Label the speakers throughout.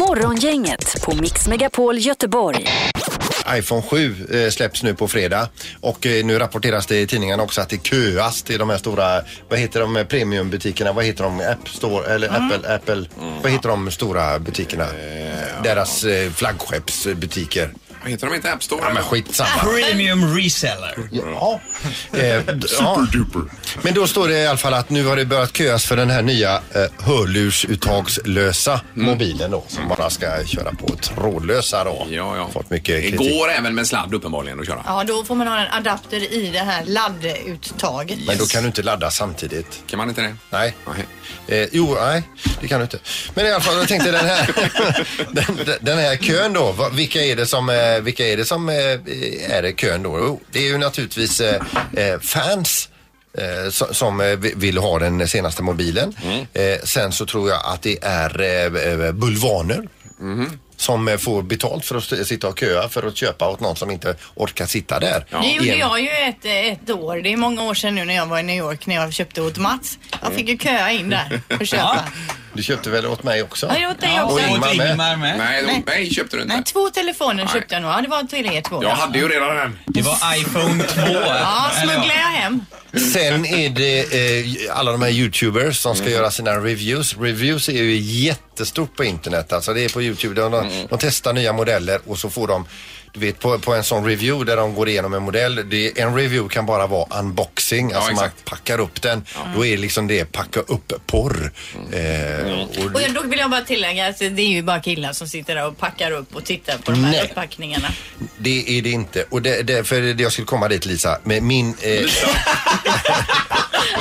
Speaker 1: Morgongänget på Mix Megapol Göteborg.
Speaker 2: iPhone 7 eh, släpps nu på fredag och eh, nu rapporteras det i tidningarna också att det köas till de här stora, vad heter de, eh, premiumbutikerna, vad heter de, App Store, eller
Speaker 3: Mm.
Speaker 2: Apple, Apple, vad heter de stora butikerna? Deras eh, flaggskeppsbutiker.
Speaker 3: Heter de inte App Store?
Speaker 2: Ja men skitsamma.
Speaker 4: Premium reseller.
Speaker 2: Ja. Eh, d- ja. Men då står det i alla fall att nu har det börjat köas för den här nya eh, hörlursuttagslösa
Speaker 3: Mm.
Speaker 2: mobilen då som bara ska köra på trådlösa då.
Speaker 3: Ja, ja.
Speaker 2: Fått mycket
Speaker 3: det
Speaker 2: kritik.
Speaker 3: går även med sladd uppenbarligen att köra.
Speaker 5: Ja, då får man ha en adapter i det här ladduttaget.
Speaker 2: Men då kan du inte ladda samtidigt.
Speaker 3: Kan man inte det?
Speaker 2: Nej.
Speaker 3: Nej.
Speaker 2: Eh, jo, nej, det kan du inte. Men i alla fall, jag tänkte den här, den, den- den här kön då. va- Vilka är det som, eh, vilka är det som eh, är i kön då? Jo, det är ju naturligtvis eh, eh, fans. eh, so- Som eh, vi- vill ha den senaste mobilen. Eh, Sen så tror jag att det är eh, eh, bulvaner som eh, får betalt för att st- sitta och köa för att köpa åt någon som inte orkar sitta där.
Speaker 5: Det gjorde
Speaker 2: Igen.
Speaker 5: jag ju ett, ett år. Det är många år sedan nu när jag var i New York när jag köpte åt Mats. Jag
Speaker 2: Mm.
Speaker 5: fick ju köa in där och köpa.
Speaker 2: Du köpte väl åt mig också?
Speaker 5: Ja, det åt dig också.
Speaker 2: Och
Speaker 4: Och
Speaker 2: Ingmar med.
Speaker 4: Ingmar med.
Speaker 3: Nej, de, nej, köpte du inte.
Speaker 5: Nej, två telefoner
Speaker 3: Nej.
Speaker 5: köpte jag nog. Ja, det var till er två.
Speaker 3: Jag hade ju redan den.
Speaker 4: Det var iPhone 2.
Speaker 5: Ja,
Speaker 4: Eller
Speaker 5: smugglade jag hem.
Speaker 2: Mm. Sen är det eh, alla de här youtubers som ska
Speaker 5: Mm.
Speaker 2: göra sina reviews. Reviews är ju jättestort på internet. Alltså det är på youtube. De,
Speaker 5: Mm.
Speaker 2: de, de testar nya modeller och så får de du vet på, på en sån review där de går igenom en modell. Det, en review kan bara vara unboxing, alltså man
Speaker 3: exakt.
Speaker 2: packar upp den. Då är liksom det packa upp-porr. Eh, och
Speaker 5: Mm. Och då vill jag bara tillägga att det är ju bara killar som sitter där och packar upp och tittar på de
Speaker 2: Nej.
Speaker 5: här upppackningarna.
Speaker 2: det är det inte. Och det, det, för det jag skulle komma dit Lisa, med min... Eh,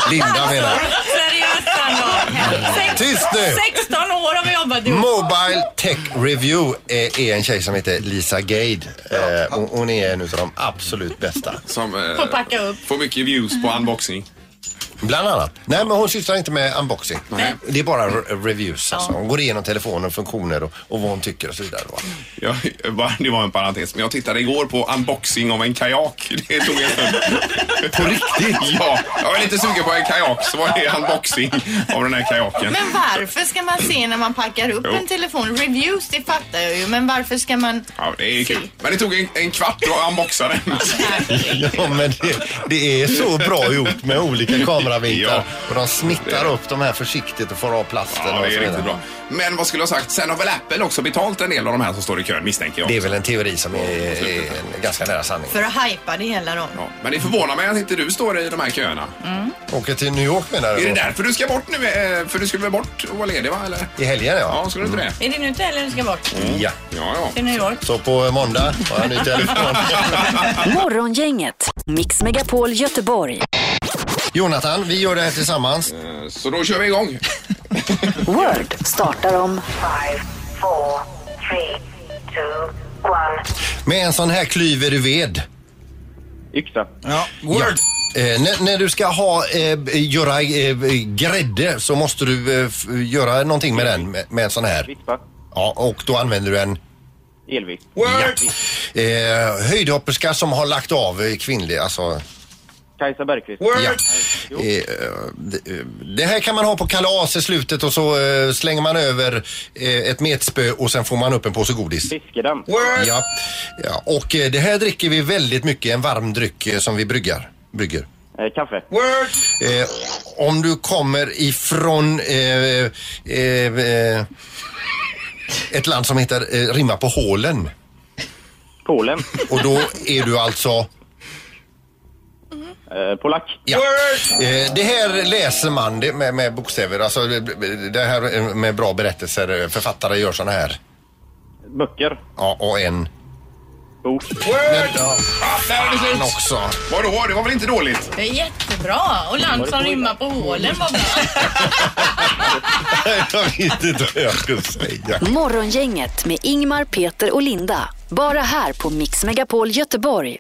Speaker 2: Linda menar jag.
Speaker 5: Seriöst Sandra. Sex-
Speaker 2: Tyst nu! Mm.
Speaker 5: 16 år har vi jobbat ihop.
Speaker 2: Mobile Tech Review är, är en tjej som heter Lisa Gade. Eh, hon, hon är en av de absolut bästa.
Speaker 3: Som, eh,
Speaker 5: Får packa upp.
Speaker 3: Får mycket views på unboxing.
Speaker 2: Bland annat. Nej, men hon sysslar inte med unboxing.
Speaker 3: Nej.
Speaker 2: Det är bara re- reviews. Alltså. Hon går igenom telefonen, funktioner och, och vad hon tycker och så vidare. va.
Speaker 3: Ja, bara- det var en parentes. Men jag tittade igår på unboxing av en kajak. Det tog en stund.
Speaker 2: På riktigt?
Speaker 3: Ja, jag var lite sugen på en kajak så var det unboxing av den här kajaken.
Speaker 5: Men varför ska man se när man packar upp
Speaker 3: Jo.
Speaker 5: en telefon? Reviews, det fattar jag ju. Men varför ska man...
Speaker 3: Ja, det är kul. Men det tog en, en kvart att unboxa den.
Speaker 2: Ja, men det, det är så bra gjort med olika kameravinklar.
Speaker 3: Ja.
Speaker 2: Och de snittar upp de här försiktigt och får av plasten.
Speaker 3: Ja,
Speaker 2: och
Speaker 3: det
Speaker 2: så
Speaker 3: är
Speaker 2: vidare.
Speaker 3: riktigt bra. Men vad skulle jag ha sagt? Sen har väl Apple också betalt en del av de här som står i kön misstänker jag.
Speaker 2: Det är väl en teori som är, är en ganska nära sanning.
Speaker 5: För att hajpa det hela då.
Speaker 3: Ja, men det förvånar mig att inte du står i de här köerna.
Speaker 2: Mm. Åker till New York menar
Speaker 3: Är
Speaker 2: du?
Speaker 3: det
Speaker 2: då?
Speaker 3: därför du ska bort nu? eh, För du skulle väl bort och vara ledig va? Eller?
Speaker 2: I helgen
Speaker 3: Ja, skulle du
Speaker 2: Mm.
Speaker 3: inte det?
Speaker 5: Är det nu inte eller du ska bort?
Speaker 3: Mm.
Speaker 2: Ja.
Speaker 3: Ja, ja.
Speaker 5: Till New York?
Speaker 2: Så på eh, måndag har jag ny telefon.
Speaker 1: Morgongänget, Mix Megapol Göteborg.
Speaker 2: Jonathan, vi gör det här tillsammans.
Speaker 3: Så då kör vi igång.
Speaker 1: Word startar om
Speaker 6: Five, four, three, two, one.
Speaker 2: Med en sån här klyver du ved.
Speaker 7: Yxa.
Speaker 4: Ja, Word.
Speaker 2: Eh, när, när du ska ha, eh, b- göra eh, b- grädde så måste du eh, f- göra någonting med den, med, med en sån här.
Speaker 7: Vispa.
Speaker 2: Ja, och då använder du en
Speaker 7: Elvis.
Speaker 4: Word.
Speaker 2: eh, höjdhopperska som har lagt av, eh, kvinnlig alltså.
Speaker 7: Kajsa Bergqvist.
Speaker 2: Ja.
Speaker 4: Word.
Speaker 2: Eh, det, eh, det här kan man ha på kalas i slutet och så eh, slänger man över eh, ett metspö och sen får man upp en påse godis.
Speaker 7: Fiskedamm.
Speaker 4: Word.
Speaker 2: Ja. ja, och eh, det här dricker vi väldigt mycket, en varm dryck eh, som vi bryggar, brygger.
Speaker 7: Eh, kaffe.
Speaker 4: Word.
Speaker 2: Eh, om du kommer ifrån eh, eh, eh, ett land som heter eh, rimmar på hålen
Speaker 7: Polen.
Speaker 2: och då är du alltså
Speaker 7: Eh, polack.
Speaker 2: Ja. Eh, det här läser man det med, med bokstäver, alltså det, det här eh, med bra berättelser, eh, författare gör såna här.
Speaker 7: Böcker.
Speaker 2: Ja, och en.
Speaker 7: Bok.
Speaker 2: Men, ja,
Speaker 3: Ah, där är det
Speaker 2: en
Speaker 3: slut.
Speaker 2: också.
Speaker 3: Vadå? Det var väl inte dåligt?
Speaker 5: Det är jättebra. Och land som rimmar på hålen var bra.
Speaker 2: Jag vet inte vad jag skulle säga.
Speaker 1: Morgongänget med Ingmar, Peter och Linda. Bara här på Mix Megapol Göteborg.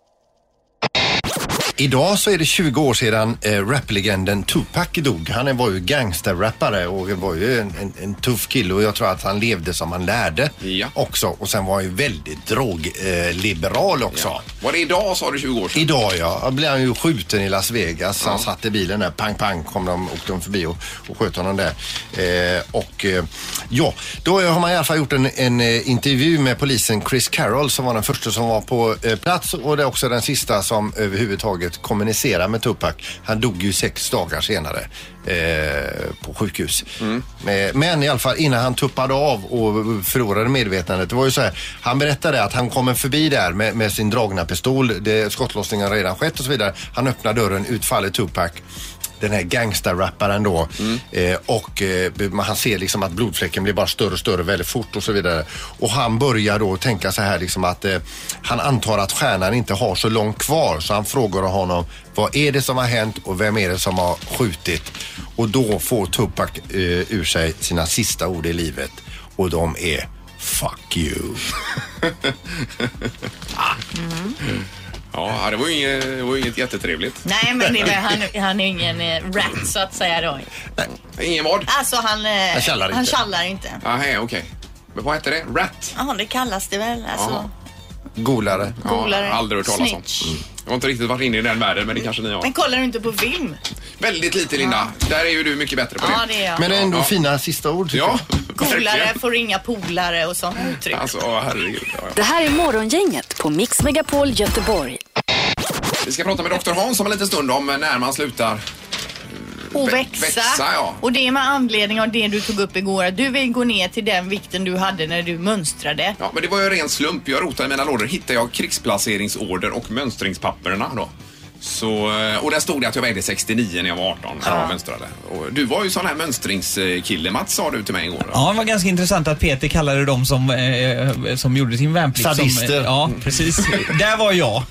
Speaker 2: Idag så är det 20 år sedan eh, raplegenden Tupac dog. Han var ju gangsterrappare och var ju en, en, en tuff kille och jag tror att han levde som han lärde
Speaker 3: Ja.
Speaker 2: också. Och sen var han ju väldigt drogliberal eh, liberal också.
Speaker 3: Ja. Var det idag sa du 20 år sedan?
Speaker 2: Idag ja, Då blev han ju skjuten i Las Vegas. Han satt i bilen där, pang pang kom de, åkte de förbi och, och sköt honom där. Eh, och eh, ja, då har man i alla fall gjort en, en eh, intervju med polisen Chris Carroll som var den första som var på eh, plats och det är också den sista som överhuvudtaget kommunicerar med Tupac. Han dog ju sex dagar senare. Eh, på sjukhus.
Speaker 3: Mm.
Speaker 2: Eh, Men i alla fall innan han tuppade av och förlorade medvetandet. Det var ju så här, han berättade att han kommer förbi där med, med sin dragna pistol. Det, skottlossningen har redan skett och så vidare. Han öppnar dörren, utfaller Tupac. Den här gangsterrapparen då.
Speaker 3: Mm.
Speaker 2: Eh, och eh, man- han ser liksom att blodfläcken blir bara större och större väldigt fort och så vidare. Och han börjar då tänka så här liksom att eh, han antar att stjärnan inte har så långt kvar. Så han frågar honom vad är det som har hänt och vem är det som har skjutit? Och då får Tupac eh, ur sig sina sista ord i livet och de är Fuck you.
Speaker 3: Ja, det var ju inget, det var ju inget jättetrevligt.
Speaker 5: Nej, men det är, väl- han, han är ingen eh, rat så att säga då.
Speaker 3: Ingen vad?
Speaker 5: Alltså han... eh, Han
Speaker 2: tjallar inte.
Speaker 5: tjallar inte.
Speaker 3: Ah, hej, okej. Men vad hette det? Rat?
Speaker 5: Ja, det kallas det väl. Alltså,
Speaker 3: Jaha.
Speaker 2: Golare.
Speaker 5: Golare.
Speaker 3: aldrig hört talas om. Mm.
Speaker 5: Snitch.
Speaker 3: Jag har inte riktigt varit inne i den världen, men det kanske ni har.
Speaker 5: men kollar du inte på film?
Speaker 3: Väldigt lite, Linda. Där är ju du mycket bättre på
Speaker 5: Ja,
Speaker 3: det.
Speaker 5: det är jag.
Speaker 2: Men det är ändå
Speaker 3: Ja.
Speaker 2: fina sista ord tycker
Speaker 3: Ja,
Speaker 5: Golare
Speaker 3: verkligen.
Speaker 5: får ringa polare och sånt uttryck.
Speaker 3: Alltså, åh, herregud. Ja, ja.
Speaker 1: Det här är Morgongänget på Mix Megapol Göteborg.
Speaker 3: Vi ska prata med doktor Hans om en liten stund om när man slutar.
Speaker 5: Och
Speaker 3: Vä-
Speaker 5: växa.
Speaker 3: växa, ja.
Speaker 5: Och det är med anledning av det du tog upp igår. Att du vill gå ner till den vikten du hade när du mönstrade.
Speaker 3: Ja, men det var ju en ren slump. Jag rotade i mina lådor. Hittade jag krigsplaceringsorder och mönstringspapperna då. Så, eh, och där stod det att jag vägde 69 när jag var 18 när jag mönstrade. Och du var ju sån här mönstringskille, Mats, sa du till mig igår.
Speaker 4: Ja, det var ganska intressant att Peter kallade dem som, eh, som gjorde sin värnplikt Som, eh,
Speaker 2: Sadister.
Speaker 4: ja, precis. Där var jag.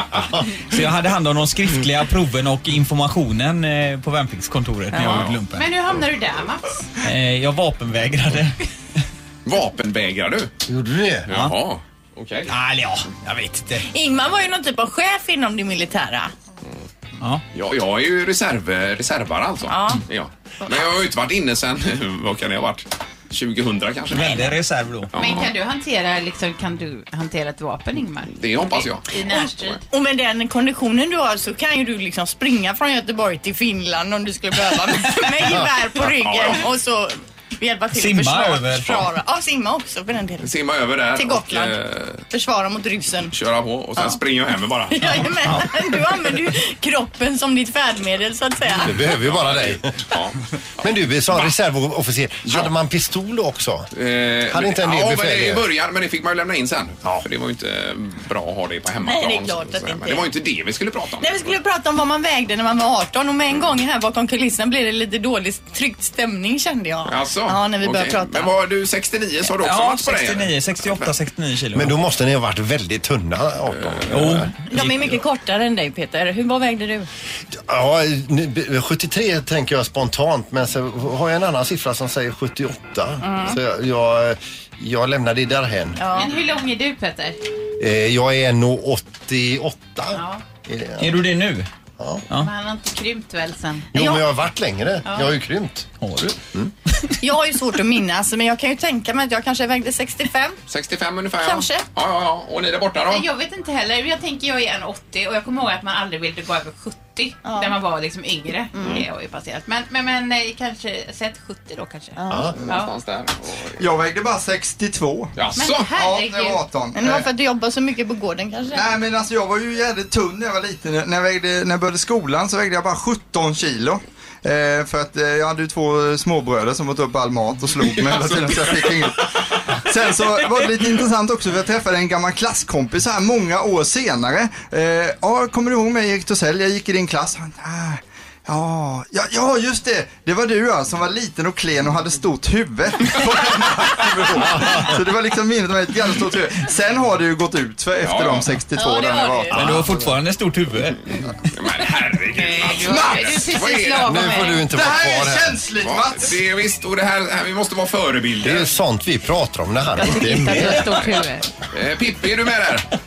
Speaker 4: Så jag hade hand om de skriftliga proven och informationen eh, på värnpliktskontoret när jag gjorde lumpen.
Speaker 8: Men hur hamnar du där Mats?
Speaker 4: Eh, jag vapenvägrade.
Speaker 3: Vapenvägrar du?
Speaker 2: jag. Gjorde du det?
Speaker 3: Jaha, okej.
Speaker 4: Ah, Eller ja, jag vet inte.
Speaker 5: Ingmar var ju någon typ av chef inom det militära.
Speaker 4: Ja.
Speaker 3: Ja, jag är ju reserv, reservare alltså.
Speaker 5: Ja.
Speaker 3: Men jag har ju inte varit inne sen, vad kan det ha varit? 2000 kanske?
Speaker 4: Väldig reserv då.
Speaker 3: Ja,
Speaker 8: Men kan du hantera, liksom, kan du hantera ett vapen Ingmar?
Speaker 3: det hoppas jag.
Speaker 8: I närstrid?
Speaker 5: Och med den konditionen du har så kan ju du liksom springa från Göteborg till Finland om du skulle behöva. med gevär på ryggen och så hjälpa till
Speaker 4: Simma
Speaker 5: att försvara.
Speaker 4: över.
Speaker 5: försvara. Ja, simma också för den delen.
Speaker 3: Simma över där
Speaker 5: Till Gotland.
Speaker 3: och eh,
Speaker 5: Försvara mot ryssen.
Speaker 3: köra på och sen springer jag hem bara.
Speaker 5: Jajamän, du använder ju kroppen som ditt färdmedel så att säga.
Speaker 2: Vi behöver ju bara dig.
Speaker 3: Ja.
Speaker 2: Men du sa reservofficer. Hade man pistol också?
Speaker 3: Eh,
Speaker 2: Hade inte en del
Speaker 3: ja, men
Speaker 2: befäl
Speaker 3: det i
Speaker 2: det?
Speaker 3: början, men det fick man ju lämna in sen. För det var ju inte eh, bra att ha det på hemmaplan.
Speaker 5: Nej, det är klart att
Speaker 3: så- så-
Speaker 5: det inte
Speaker 3: men det
Speaker 5: är.
Speaker 3: var ju inte det vi skulle prata om.
Speaker 5: Nej, vi skulle prata om vad man vägde när man var 18 och med en gång här bakom kulissen blev det lite dålig tryckt stämning kände jag.
Speaker 3: Alltså,
Speaker 5: ja, när vi började
Speaker 3: okej.
Speaker 5: prata.
Speaker 3: Men var du 69 sa du också
Speaker 4: Ja,
Speaker 3: varit på dig, eller?
Speaker 4: 69, 68, 69 kilo.
Speaker 2: Men då måste ni ha varit väldigt tunna 18.
Speaker 3: Eh.
Speaker 4: Jo.
Speaker 5: De är mycket kortare än dig Peter. Hur, vad vägde du?
Speaker 2: Ja, nu- 73 tänker jag spontant men så har jag en annan siffra som säger 78. Så jag, jag, jag lämnar det därhen.
Speaker 8: Men hur lång är du Peter?
Speaker 2: Eh, jag är nog 88.
Speaker 8: Ja.
Speaker 2: Är det-
Speaker 4: Är du det nu?
Speaker 8: Men han har inte krympt väl sen?
Speaker 2: Jo,
Speaker 5: Ja.
Speaker 2: men jag har varit längre. Jag har ju krympt.
Speaker 4: Har du?
Speaker 5: Jag har ju svårt att minnas men jag kan ju tänka mig att jag kanske vägde 65.
Speaker 3: 65 ungefär
Speaker 5: Kanske.
Speaker 3: ja. Ja, ja, ja. Och ni där borta då?
Speaker 8: Nej, jag vet inte heller. Jag tänker jag är en 80 och jag kommer ihåg att man aldrig ville gå över 70 när man var liksom yngre.
Speaker 5: Mm.
Speaker 8: Det har ju passerat. Men, men, men eh, kanske, sätt 70 då kanske. Ja.
Speaker 3: Någonstans där. Och...
Speaker 9: Jag vägde bara 62.
Speaker 3: Jaså?
Speaker 8: Men här-
Speaker 9: Ja, när jag
Speaker 8: Herregud.
Speaker 9: var 18.
Speaker 5: Men det var för att du jobbar så mycket på gården kanske?
Speaker 9: Nej men alltså jag var ju jävligt tunn när jag var liten. När jag, vägde, när jag började skolan så vägde jag bara 17 kilo. Eh, för att eh, jag hade ju två småbröder som åt upp all mat och slog mig hela tiden så jag fick inget. Sen så var det lite intressant också för jag träffade en gammal klasskompis här många år senare. Eh, ja, kommer du ihåg mig Erik Tosell? Jag gick i din klass. Han, "Ah, Ja, ja, ja, just det. Det var du ja, som var liten och klen och hade stort huvud. så det var liksom minnet av ett jävla stort huvud. Sen har det ju gått ut för efter
Speaker 3: Ja, ja.
Speaker 9: de 62
Speaker 5: Ja, det
Speaker 9: där
Speaker 5: har
Speaker 9: jag var.
Speaker 5: det ju.
Speaker 4: Men du har fortfarande stort huvud.
Speaker 3: Men herregud
Speaker 8: Du
Speaker 3: Mats!
Speaker 8: är du är
Speaker 3: Vad är
Speaker 8: precis
Speaker 3: det?
Speaker 8: lagom
Speaker 2: Nu får
Speaker 8: mig.
Speaker 2: du inte
Speaker 9: Det
Speaker 2: vara
Speaker 9: här
Speaker 2: kvar
Speaker 9: är
Speaker 2: här.
Speaker 9: känsligt
Speaker 3: Va?
Speaker 9: Mats!
Speaker 3: Det är visst, och det här, här, vi måste vara
Speaker 2: Det är
Speaker 3: förebilder.
Speaker 2: ju sånt vi pratar om när han inte är
Speaker 8: Att du
Speaker 2: med.
Speaker 8: har stort huvud.
Speaker 3: Eh, Pippi, är du med där?
Speaker 7: Ja,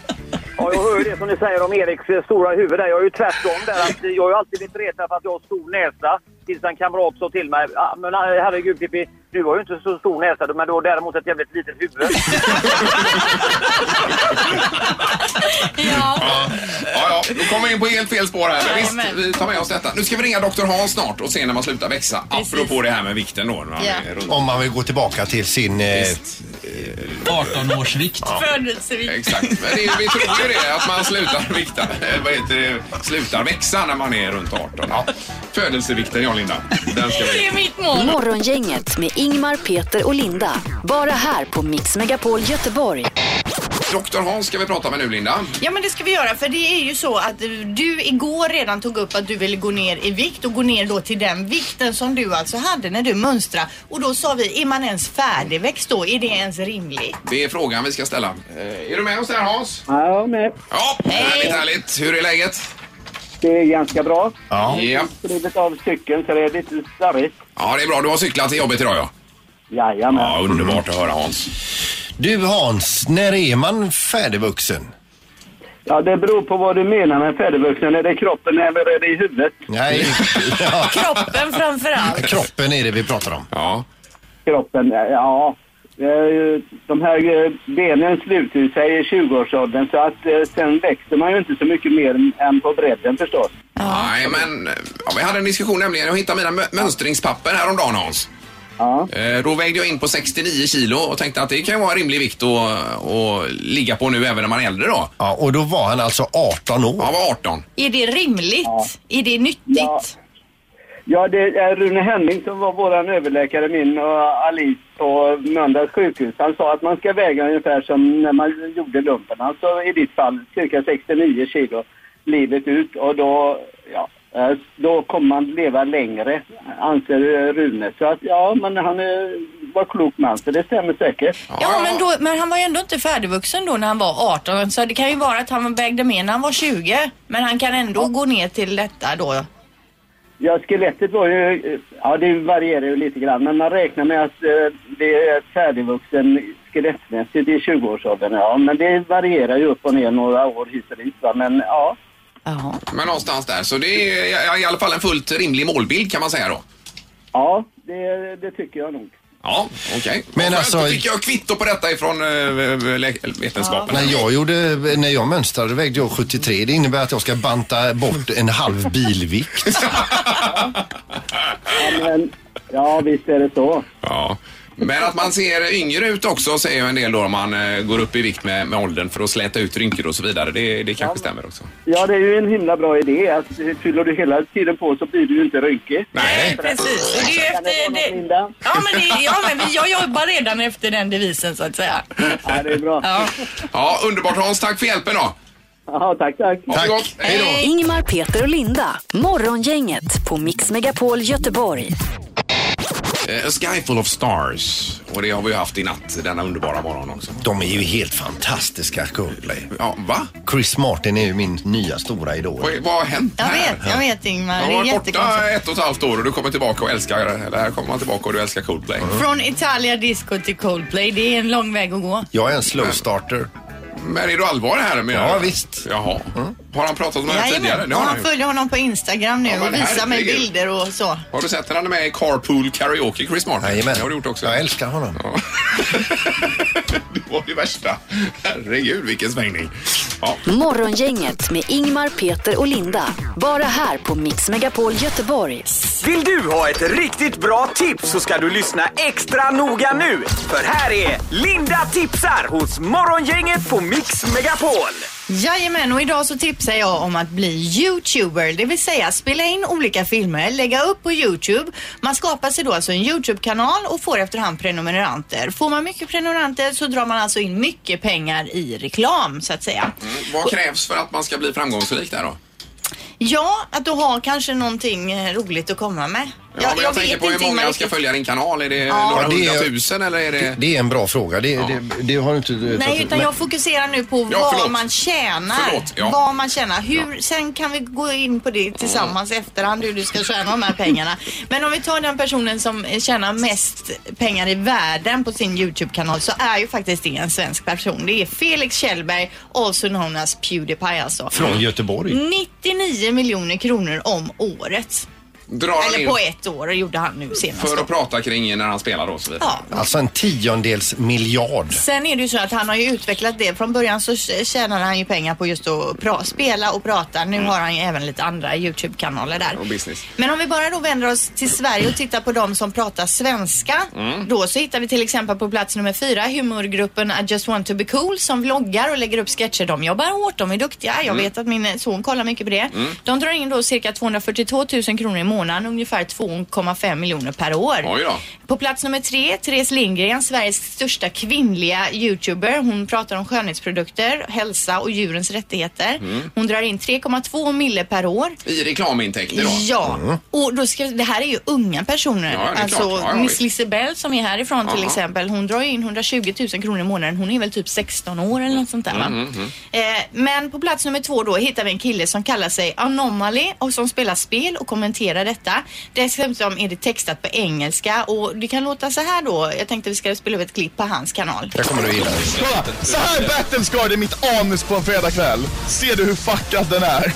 Speaker 7: Ja, jag hör ju det som ni säger om Eriks eh, stora huvud där. Jag är ju tvärtom där. Att eh, jag har ju alltid blivit retad för att jag har stor näsa. Tills en kamrat sa till mig, ah, men eh, herregud Pippi, du har ju inte så stor näsa, men du har däremot ett jävligt litet huvud.
Speaker 8: Ja.
Speaker 3: Ja, ja, ja, då kommer vi in på helt fel spår här. Men visst,
Speaker 5: Jajamän.
Speaker 3: vi tar med oss detta. Nu ska vi ringa Dr. Hans snart och se när man slutar växa.
Speaker 5: Precis.
Speaker 3: Apropå det här med vikten då. när man
Speaker 5: Ja.
Speaker 3: är runt.
Speaker 2: Om man vill gå tillbaka till sin... Eh,
Speaker 4: 18-årsvikt.
Speaker 5: Födelsevikt.
Speaker 3: Exakt. Men det, är- vi tror ju det, att man slutar vikta. eh, Vad heter det? Slutar växa när man är runt 18. Ja. Födelsevikten, ja Linda. Den ska
Speaker 5: Det
Speaker 3: vi...
Speaker 5: är mitt mål.
Speaker 1: Morgongänget med Ingmar, Peter och Linda. Bara här på Mix Megapol Göteborg.
Speaker 3: Dr. Hans ska vi prata med nu, Linda.
Speaker 5: Ja men det ska vi göra för det är ju så att eh, du igår redan tog upp att du ville gå ner i vikt och gå ner då till den vikten som du alltså hade när du mönstrade. Och då sa vi, är man ens färdigväxt då? Är det ens rimligt?
Speaker 3: Det är frågan vi ska ställa. Eh, Är du med oss där, Hans?
Speaker 7: Ja, men
Speaker 3: Ja, härligt, härligt. Hur är läget?
Speaker 7: det är ganska bra.
Speaker 3: Ja. ja.
Speaker 7: Drivet av cykeln så det är lite starrigt.
Speaker 3: det är bra. Du har cyklat till jobbet idag, ja.
Speaker 7: Jajamän.
Speaker 3: Ja, underbart att höra, Hans.
Speaker 2: du Hans, när är man färdigvuxen?
Speaker 7: Ja, det beror på vad du menar med färdigvuxen. Är det kroppen eller är det i huvudet?
Speaker 2: Nej, ja,
Speaker 5: Kroppen framförallt.
Speaker 2: kroppen är det vi pratar om.
Speaker 3: Ja.
Speaker 7: Kroppen, ja. Eh, De här eh, benen sluter ju sig i 20-årsåldern så att eh, sen växer man ju inte så mycket mer än på bredden förstås.
Speaker 3: Nej, men eh, ja, vi hade en diskussion nämligen. Jag hittade mina mö- mönstringspapper häromdagen, Hans.
Speaker 7: Ja.
Speaker 3: Eh, Då vägde jag in på 69 kilo och tänkte att det kan ju vara en rimlig vikt att, att ligga på nu även när man är äldre då.
Speaker 2: Ja, och då var han alltså 18 år.
Speaker 3: Jag var 18.
Speaker 5: Är det rimligt? Är det nyttigt?
Speaker 7: Ja. Ja, det är Rune Henning som var vår överläkare, min och Alice på Mölndals sjukhus. Han sa att man ska väga ungefär som när man gjorde lumpen. Alltså i ditt fall cirka 69 kilo livet ut och då, ja, eh, då kommer man leva längre, anser eh, Rune. Så att ja, men han eh, var klok man, så det stämmer säkert.
Speaker 5: Ja, men, då, men han var ju ändå inte färdigvuxen då när han var 18 så det kan ju vara att han vägde mer när han var 20. Men han kan ändå gå ner till detta då.
Speaker 7: Ja, skelettet var ju... Ja, det varierar ju lite grann, men man räknar med att eh, det är färdigvuxen skelettmässigt i 20-årsåldern. Ja, men det varierar ju upp och ner några år hit och dit, va. Men ja,
Speaker 5: Ja.
Speaker 3: Men någonstans där. Så det är i- i alla fall en fullt rimlig målbild kan man säga då.
Speaker 7: ja det, det tycker jag nog.
Speaker 3: Ja, okej.
Speaker 2: Men
Speaker 3: Men
Speaker 2: alltså-
Speaker 3: alltså... Då fick jag kvitto på detta ifrån eh, lä- vetenskapen.
Speaker 2: När jag, gjorde, när jag mönstrade vägde jag 73. Det innebär att jag ska banta bort en halv bilvikt.
Speaker 7: Ja, men, ja visst är det så.
Speaker 3: Ja. Men att man ser yngre ut också säger ju en del då om man eh, går upp i vikt med, med åldern för att släta ut rynkor och så vidare. Det, det kanske stämmer också.
Speaker 7: Ja, det är ju en himla bra idé. Att fyller du hela tiden på så blir du ju inte rynkig.
Speaker 3: Nej.
Speaker 5: Precis, och det är ju
Speaker 7: Kan det
Speaker 5: efter...
Speaker 7: vara något,
Speaker 5: Det,
Speaker 7: Linda?
Speaker 5: ja, men, det, ja, men vi- jag jobbar redan efter den devisen så att säga.
Speaker 7: Ja, det är bra.
Speaker 5: Ja.
Speaker 3: Ja, underbart Hans. Tack för hjälpen då.
Speaker 7: Ja, tack, tack.
Speaker 3: Ha det gott. Hej då.
Speaker 1: Ingmar, Peter och Linda. Morgongänget på Mix Megapol Göteborg.
Speaker 3: Eh, A Sky Full of Stars. Och det har vi ju haft i natt, denna underbara morgon också.
Speaker 2: De är ju helt fantastiska Coldplay.
Speaker 3: Ja, va?
Speaker 2: Chris Martin är ju min nya stora idol.
Speaker 3: Vad, vad har hänt
Speaker 5: Jag
Speaker 3: här?
Speaker 5: vet, jag vet Ingmar.
Speaker 3: Du har
Speaker 5: Det är
Speaker 3: varit borta
Speaker 5: jättekonstigt.
Speaker 3: ett och ett halvt år och du kommer tillbaka och älskar, eller här kommer man tillbaka och du älskar Coldplay.
Speaker 5: Från Italia Disco till Coldplay, det är en lång väg att gå.
Speaker 2: Jag är en slow starter.
Speaker 3: Men är du allvar här med
Speaker 2: Ja, visst.
Speaker 3: Jaha. Har han pratat om det här tidigare?
Speaker 5: Jajamän,
Speaker 3: Det
Speaker 5: och
Speaker 3: har han
Speaker 5: han
Speaker 3: ju.
Speaker 5: följer honom på Instagram nu
Speaker 3: Ja, men
Speaker 5: och visar mig
Speaker 3: herregud.
Speaker 5: bilder och så.
Speaker 3: Har du sett när han är med i Carpool Karaoke, Chris Martin?
Speaker 2: Jajamän.
Speaker 3: Det har du gjort också.
Speaker 2: Jag älskar honom.
Speaker 3: Ja. det var det värsta. Herregud, vilken svängning. Ja.
Speaker 1: Morgongänget med Ingmar, Peter och Linda. Bara här på Mix Megapol Göteborg.
Speaker 10: Vill du ha ett riktigt bra tips så ska du lyssna extra noga nu. För här är Linda tipsar hos Morgongänget på Mix Megapol.
Speaker 5: Jajamän, och idag så tipsar jag om att bli youtuber, det vill säga spela in olika filmer, lägga upp på Youtube. Man skapar sig då alltså en Youtube-kanal och får efterhand prenumeranter. Får man mycket prenumeranter så drar man alltså in mycket pengar i reklam så att säga.
Speaker 3: Vad krävs för att man ska bli framgångsrik där då?
Speaker 5: Ja, att du har kanske någonting eh, roligt att komma med.
Speaker 3: Ja, men jag,
Speaker 5: jag
Speaker 3: tänker
Speaker 5: vet
Speaker 3: på hur
Speaker 5: inte,
Speaker 3: många
Speaker 5: Ingmar,
Speaker 3: ska
Speaker 5: riktigt.
Speaker 3: följa din kanal. Är det
Speaker 5: Ja.
Speaker 3: några
Speaker 2: Ja, det är-
Speaker 3: hundratusen eller är det...
Speaker 2: Det är en bra fråga. Det, det, det har du inte... eh,
Speaker 5: Nej, utan jag fokuserar nu på
Speaker 3: Ja,
Speaker 5: vad
Speaker 3: förlåt.
Speaker 5: man tjänar.
Speaker 3: Förlåt, ja.
Speaker 5: Vad man tjänar. Hur, sen kan vi gå in på det tillsammans efterhand hur du ska tjäna de här pengarna. Men om vi tar den personen som eh, tjänar mest pengar i världen på sin YouTube-kanal så är ju faktiskt det en svensk person. Det är Felix Kjellberg, also known as Pewdiepie alltså.
Speaker 2: Från Göteborg.
Speaker 5: 99 miljoner kronor om året.
Speaker 3: Drar han
Speaker 5: Eller på
Speaker 3: in
Speaker 5: ett år gjorde han nu senast.
Speaker 3: för att prata kring när han spelar då och så vidare?
Speaker 5: Ja,
Speaker 2: Alltså en tiondels miljard.
Speaker 5: Sen är det ju så att han har ju utvecklat det. Från början så tjänade han ju pengar på just att pra- spela och prata. Nu har han ju även lite andra YouTube-kanaler där.
Speaker 3: Mm. Och business.
Speaker 5: Men om vi bara då vänder oss till Sverige och tittar på de som pratar svenska.
Speaker 3: Mm.
Speaker 5: Då så hittar vi till exempel på plats nummer fyra humorgruppen I just want to be cool som vloggar och lägger upp sketcher. De jobbar hårt, de är duktiga. Jag
Speaker 3: Mm.
Speaker 5: vet att min eh, son kollar mycket på det. De drar in då cirka 242 000 kronor i månaden, ungefär 2,5 miljoner per år.
Speaker 3: Oj då.
Speaker 5: På plats nummer tre, Therese Lindgren, Sveriges största kvinnliga youtuber. Hon pratar om skönhetsprodukter, hälsa och djurens rättigheter. Hon drar in 3,2 mille per år.
Speaker 3: I reklamintäkter då?
Speaker 5: Ja, och då ska, det här är ju unga personer.
Speaker 3: Mm. Ja, det är
Speaker 5: alltså
Speaker 3: klart. Ja, ja,
Speaker 5: Miss
Speaker 3: visst.
Speaker 5: Lisebell som är härifrån till
Speaker 3: Ja.
Speaker 5: exempel, hon drar ju in 120 000 kronor i månaden. Hon är väl typ 16 år eller något sånt där
Speaker 3: Mm,
Speaker 5: va? Eh, men på plats nummer två då hittar vi en kille som kallar sig Anomaly och som spelar spel och kommenterar detta. Dessutom är det textat på engelska och det kan låta så här då. Jag tänkte vi ska spela upp ett klipp på hans kanal.
Speaker 2: Det kommer du gilla.
Speaker 11: Kolla! Så här battlescard är mitt anus på en fredagkväll. Ser du hur fuckad den är?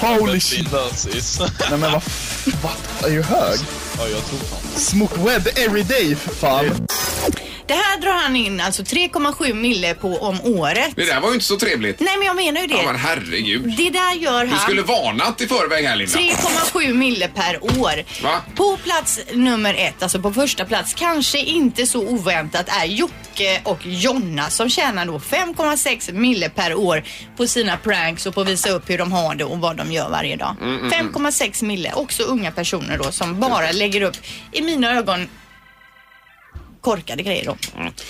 Speaker 11: Holy shit. Nej men vad... f- Vad? Är du hög? Ja, jag tror fan Smoke web every day, för fan.
Speaker 5: Det här drar han in alltså 3,7 mille på om året.
Speaker 3: Det där var ju inte så trevligt.
Speaker 5: Nej men jag menar ju det.
Speaker 3: Ja, men herregud.
Speaker 5: Det där gör
Speaker 3: Du
Speaker 5: han.
Speaker 3: skulle varnat i förväg här Linda.
Speaker 5: 3,7 mille per år.
Speaker 3: Va?
Speaker 5: På plats nummer ett, alltså på första plats, kanske inte så oväntat är Jocke och Jonna som tjänar då 5,6 mille per år på sina pranks och på att visa upp hur de har det och vad de gör varje dag. 5,6 mille, också unga personer då som bara lägger upp, i mina ögon, korkade grejer då.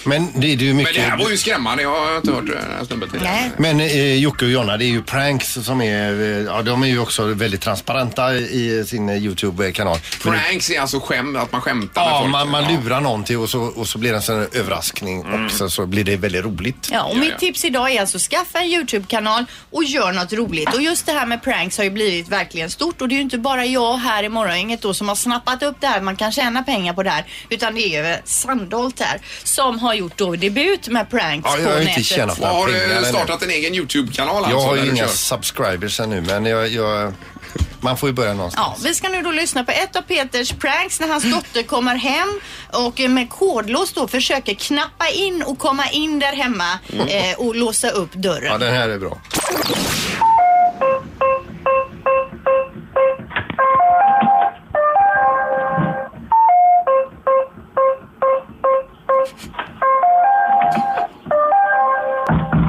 Speaker 2: Men det, det är ju
Speaker 3: Men det
Speaker 2: mycket...
Speaker 3: här var ju skrämmande. Jag har inte hört eh, det här snubbet tidigare.
Speaker 5: Nej.
Speaker 2: Men eh, Jocke och Jonna, det är ju pranks som är... Eh, ja, de är ju också väldigt transparenta i eh, sin eh, YouTube-kanal. Men det-
Speaker 3: Pranks är alltså skämt, att man skämtar med
Speaker 2: Ja,
Speaker 3: folk.
Speaker 2: man, man
Speaker 3: Ja. Mm.
Speaker 2: lurar någon till och så, och så blir det en sån här överraskning och sen så blir det väldigt roligt.
Speaker 5: Ja, och
Speaker 3: Ja,
Speaker 5: mitt
Speaker 3: ja.
Speaker 5: tips idag är alltså skaffa en YouTube-kanal och gör något roligt. Och just det här med pranks har ju blivit verkligen stort och det är ju inte bara jag här i Morgongänget då som har snappat upp det här, man kan tjäna pengar på det här, utan det är ju Sandholt här som har gjort då debut med pranks
Speaker 2: Ja, jag
Speaker 5: på
Speaker 2: har ju inte
Speaker 5: nätet.
Speaker 2: tjänat
Speaker 3: Och har
Speaker 2: pengar
Speaker 3: du
Speaker 2: ännu.
Speaker 3: startat en egen YouTube-kanal
Speaker 2: Jag
Speaker 3: alltså?
Speaker 2: har
Speaker 3: där
Speaker 2: ju
Speaker 3: du
Speaker 2: inga
Speaker 3: kör?
Speaker 2: subscribers ännu men jag, jag, man får ju börja
Speaker 5: Ja,
Speaker 2: någonstans.
Speaker 5: vi ska nu då lyssna på ett av Peters pranks när hans dotter kommer hem och eh, med kodlås då försöker knappa in och komma in där hemma
Speaker 2: Mm.
Speaker 5: eh, och låsa upp dörren.
Speaker 2: Ja, den här är bra.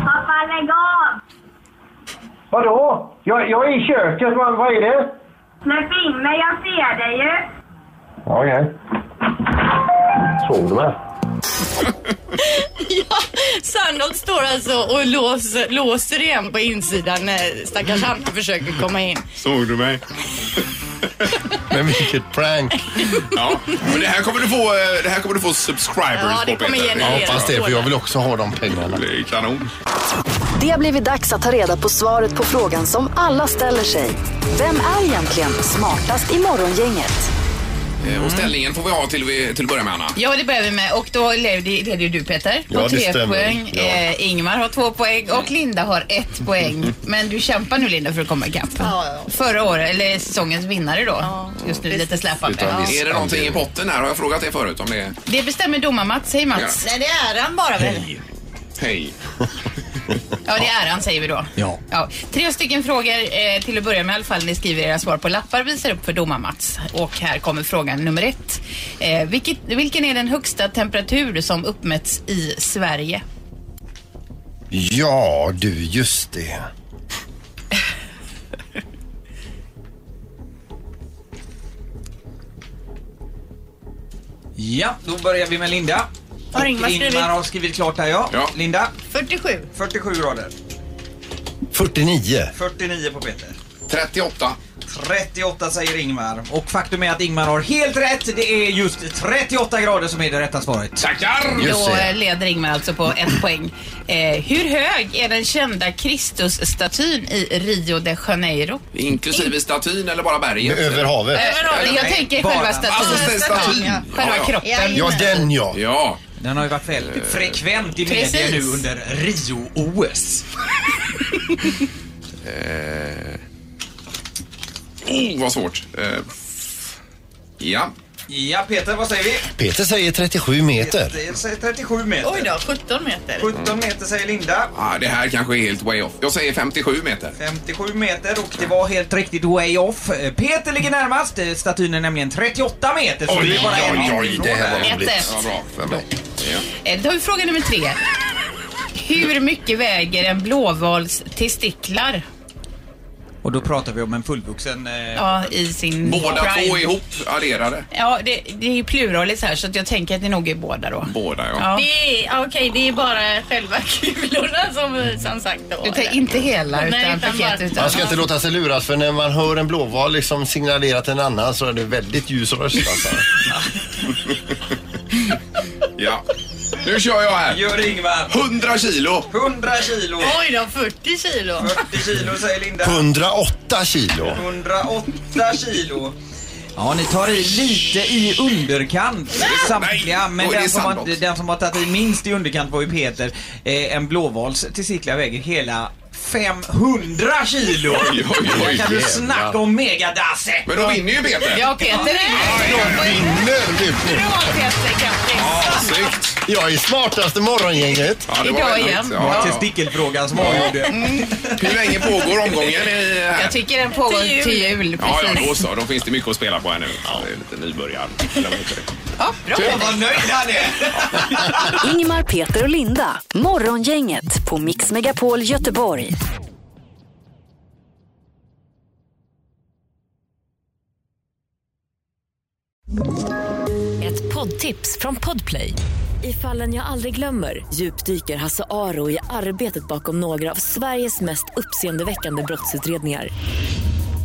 Speaker 6: Pappa, lägg av!
Speaker 7: Vadå? Jag, jag är i köket, men vad är det?
Speaker 6: Släpp in mig, jag ser dig ju!
Speaker 7: Okej. Såg du mig?
Speaker 5: Ja, Sandholt står alltså och låser, låser igen på insidan när stackars Hanna försöker komma in.
Speaker 3: Såg du mig?
Speaker 2: Men vilket prank!
Speaker 3: Ja, men det här kommer du få, eh, det här kommer du få subscribers
Speaker 5: Ja, det
Speaker 3: på,
Speaker 5: kommer
Speaker 3: Peter.
Speaker 2: Jag
Speaker 5: generera.
Speaker 2: hoppas det för jag vill också ha de pengarna.
Speaker 3: Det är kanon.
Speaker 1: Det har blivit dags att ta reda på svaret på frågan som alla ställer sig. Vem är egentligen smartast i Morgongänget?
Speaker 3: Eh, Och ställningen får vi ha till, vi- till att börja med, Anna.
Speaker 8: Ja, det börjar vi med. Och då leder leder ju du Peter på
Speaker 2: Ja, det
Speaker 8: tre
Speaker 2: stämmer.
Speaker 8: poäng.
Speaker 2: Ja.
Speaker 8: Eh, Ingmar har två poäng och Linda har ett poäng. Men du kämpar nu Linda för att komma ikapp. Förra året, eller säsongens vinnare då. Just nu lite släpande.
Speaker 2: Utan viss
Speaker 3: Är det någonting i
Speaker 2: andel.
Speaker 3: potten här? Har jag frågat det förut? Om det är...
Speaker 8: Det bestämmer domar-Mats. Hej Mats.
Speaker 5: Nej, det är han bara väl.
Speaker 3: Hej.
Speaker 8: Ja, det är han säger vi då.
Speaker 4: Ja.
Speaker 8: Tre stycken frågor eh, till att börja med i alla fall. Ni skriver era svar på lappar och visar upp för domar-Mats. Och här kommer frågan nummer ett. Eh, vilket, vilken är den högsta temperatur som uppmätts i Sverige?
Speaker 2: Ja du, just det.
Speaker 4: Ja, då börjar vi med Linda.
Speaker 5: Har
Speaker 4: Och
Speaker 5: Ingmar skrivit?
Speaker 4: Ingmar har skrivit klart här ja.
Speaker 3: Ja.
Speaker 4: Linda,
Speaker 5: 47.
Speaker 9: 47 grader.
Speaker 2: 49.
Speaker 9: 49 på Peter.
Speaker 3: 38.
Speaker 4: 38 säger Ingmar. Och faktum är att Ingmar har helt rätt. Det är just 38 grader som är det rätta svaret.
Speaker 3: Tackar!
Speaker 5: Då eh, leder Ingmar alltså på ett poäng. Eh, hur hög är den kända Kristusstatyn i Rio de Janeiro?
Speaker 3: Inklusive statyn eller bara berget?
Speaker 2: Över havet.
Speaker 3: Äh,
Speaker 8: Eh,
Speaker 5: Över havet. Jag tänker själva statyn.
Speaker 3: Alltså, statyn.
Speaker 5: Statyn, ja. Själva kroppen.
Speaker 2: Ja, den ja.
Speaker 3: Ja.
Speaker 4: Den har ju varit väldigt frekvent i
Speaker 5: Precis.
Speaker 4: media nu under Rio-OS.
Speaker 3: Eh. Oh, vad svårt. Eh. Ja.
Speaker 4: Ja, Peter, vad säger vi?
Speaker 2: Peter säger 37 meter.
Speaker 4: Peter säger 37 meter.
Speaker 5: Oj då, 17 meter.
Speaker 4: 17 meter säger Linda.
Speaker 3: Ah, det här kanske är helt way off. Jag säger 57 meter.
Speaker 4: 57 meter och det var helt riktigt way off. Eh, Peter ligger närmast. Eh, Statyn är nämligen 38 meter. Så det är bara en meter ifrån
Speaker 2: det här
Speaker 4: där.
Speaker 2: var roligt.
Speaker 5: Ett, ett.
Speaker 3: Ja, bra för mig.
Speaker 5: Eh, Då har vi fråga nummer tre. Hur mycket väger en blåvals testiklar?
Speaker 4: Och då pratar vi om en fullvuxen... Eh,
Speaker 5: Ja, i sin
Speaker 3: Båda
Speaker 5: prime?
Speaker 3: två ihop adderade.
Speaker 5: Ja, det, det är ju pluralis här så att jag tänker att det nog är båda då.
Speaker 3: Båda ja.
Speaker 5: Ja.
Speaker 6: Det är, okej, det är bara själva kulorna som, som sagt då.
Speaker 5: Du tänker inte hela utan,
Speaker 6: Nej, utan
Speaker 5: paket
Speaker 6: bara-
Speaker 5: utan...
Speaker 2: Man ska inte låta sig luras för när man hör en blåval liksom signalera till en annan så är det väldigt ljus röst alltså.
Speaker 3: ja. Nu kör jag här.
Speaker 4: Gör Ingvar.
Speaker 3: 100 kilo.
Speaker 4: 100 kilo.
Speaker 6: Oj då, 40 kilo.
Speaker 4: 40 kilo säger Linda.
Speaker 2: 108 kilo.
Speaker 4: 108 kilo. Ja, ni tar i lite i underkant samtliga,
Speaker 3: Nej,
Speaker 4: men
Speaker 3: oj, det är
Speaker 4: den som,
Speaker 3: sant
Speaker 4: har,
Speaker 3: också.
Speaker 4: den som har tagit i minst i underkant var ju Peter. Eh, en blåvals testiklar väger hela 500 kilo!
Speaker 3: Oj, oj, oj,
Speaker 4: Där kan du
Speaker 2: jävlar.
Speaker 4: snacka om megadasset!
Speaker 3: Men då vinner ju Peter.
Speaker 5: Ja, Peter är
Speaker 2: Vinner du nu?
Speaker 5: Bra Peter, grattis!
Speaker 3: Ja, snyggt.
Speaker 2: Jag är smartaste morgongänget.
Speaker 3: Ja, det
Speaker 5: Idag
Speaker 3: var ändå
Speaker 5: igen.
Speaker 3: inte-
Speaker 4: Det var
Speaker 3: Ja, ja.
Speaker 4: testikelfrågan som avgjorde.
Speaker 3: Hur länge pågår omgången? i-
Speaker 5: Jag tycker den pågår
Speaker 6: Till jul.
Speaker 5: till jul,
Speaker 3: Ja, ja,
Speaker 5: precis.
Speaker 3: då så. Då finns det mycket att spela på här nu. Det är lite nybörjar. Eller vad heter det?
Speaker 5: Ja, bra.
Speaker 4: Fan vad nöjd han är!
Speaker 12: Ingmar, Peter och Linda. Morgongänget på Mix Megapol Göteborg.
Speaker 1: Ett poddtips från Podplay. I fallen jag aldrig glömmer djupdyker Hasse Aro i arbetet bakom några av Sveriges mest uppseendeväckande brottsutredningar.